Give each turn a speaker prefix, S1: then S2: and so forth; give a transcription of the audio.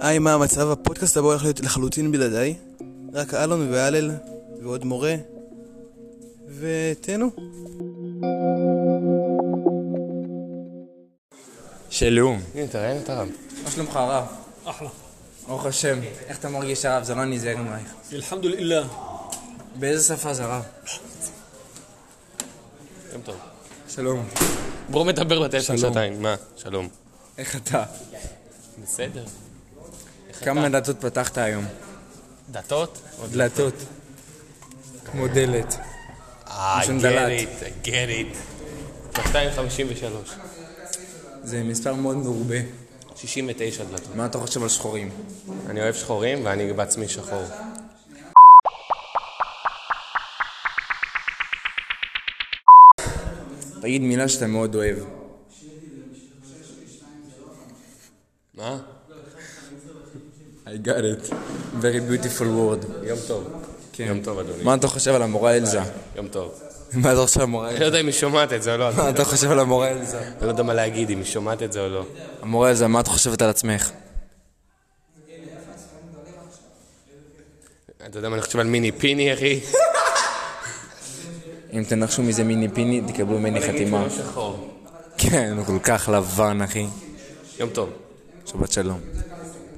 S1: היי, מה המצב? הפודקאסט הבא הולך להיות לחלוטין בלעדיי. רק אלון והלל, ועוד מורה. ותהנו.
S2: שלום.
S3: הנה, תראה, הנה, תרם.
S4: מה שלומך הרב?
S5: אחלה.
S4: ברוך השם. איך אתה מרגיש הרב? זה לא נזהר ממך.
S5: אלחמדולillah.
S4: באיזה שפה זה הרב?
S3: יום טוב.
S4: שלום.
S3: ברום מדבר בטלפון שעתיים, מה? שלום.
S4: איך אתה?
S3: בסדר.
S4: כמה דלתות פתחת היום?
S3: דתות?
S4: דלתות. כמו דלת.
S3: אה, I
S4: לשון
S3: get
S4: דלת.
S3: it, I get it. 253.
S4: זה מספר מאוד מרובה.
S3: 69 דלתות.
S4: מה אתה חושב על שחורים?
S3: אני אוהב שחורים ואני בעצמי שחור.
S4: תגיד מילה שאתה מאוד אוהב.
S3: מה?
S4: I got it. Very beautiful word.
S3: יום טוב.
S4: כן.
S3: יום טוב, אדוני.
S4: מה אתה חושב על המורה אלזה?
S3: יום טוב.
S4: מה אתה חושב על המורה
S3: אני לא
S4: אלזה?
S3: יודע אם היא שומעת את זה או לא.
S4: מה
S3: אני
S4: אתה חושב על המורה אלזה?
S3: לא יודע מה להגיד, אם היא שומעת את זה או לא.
S4: המורה אלזה, מה את חושבת על עצמך?
S3: אתה יודע מה אני חושב על מיני פיני, אחי?
S4: אם תנחשו מזה מיני פיני, תקבלו ממני חתימה.
S3: לא שחור.
S4: כן, הוא כל כך לבן, אחי.
S3: יום טוב.
S4: שבת שלום.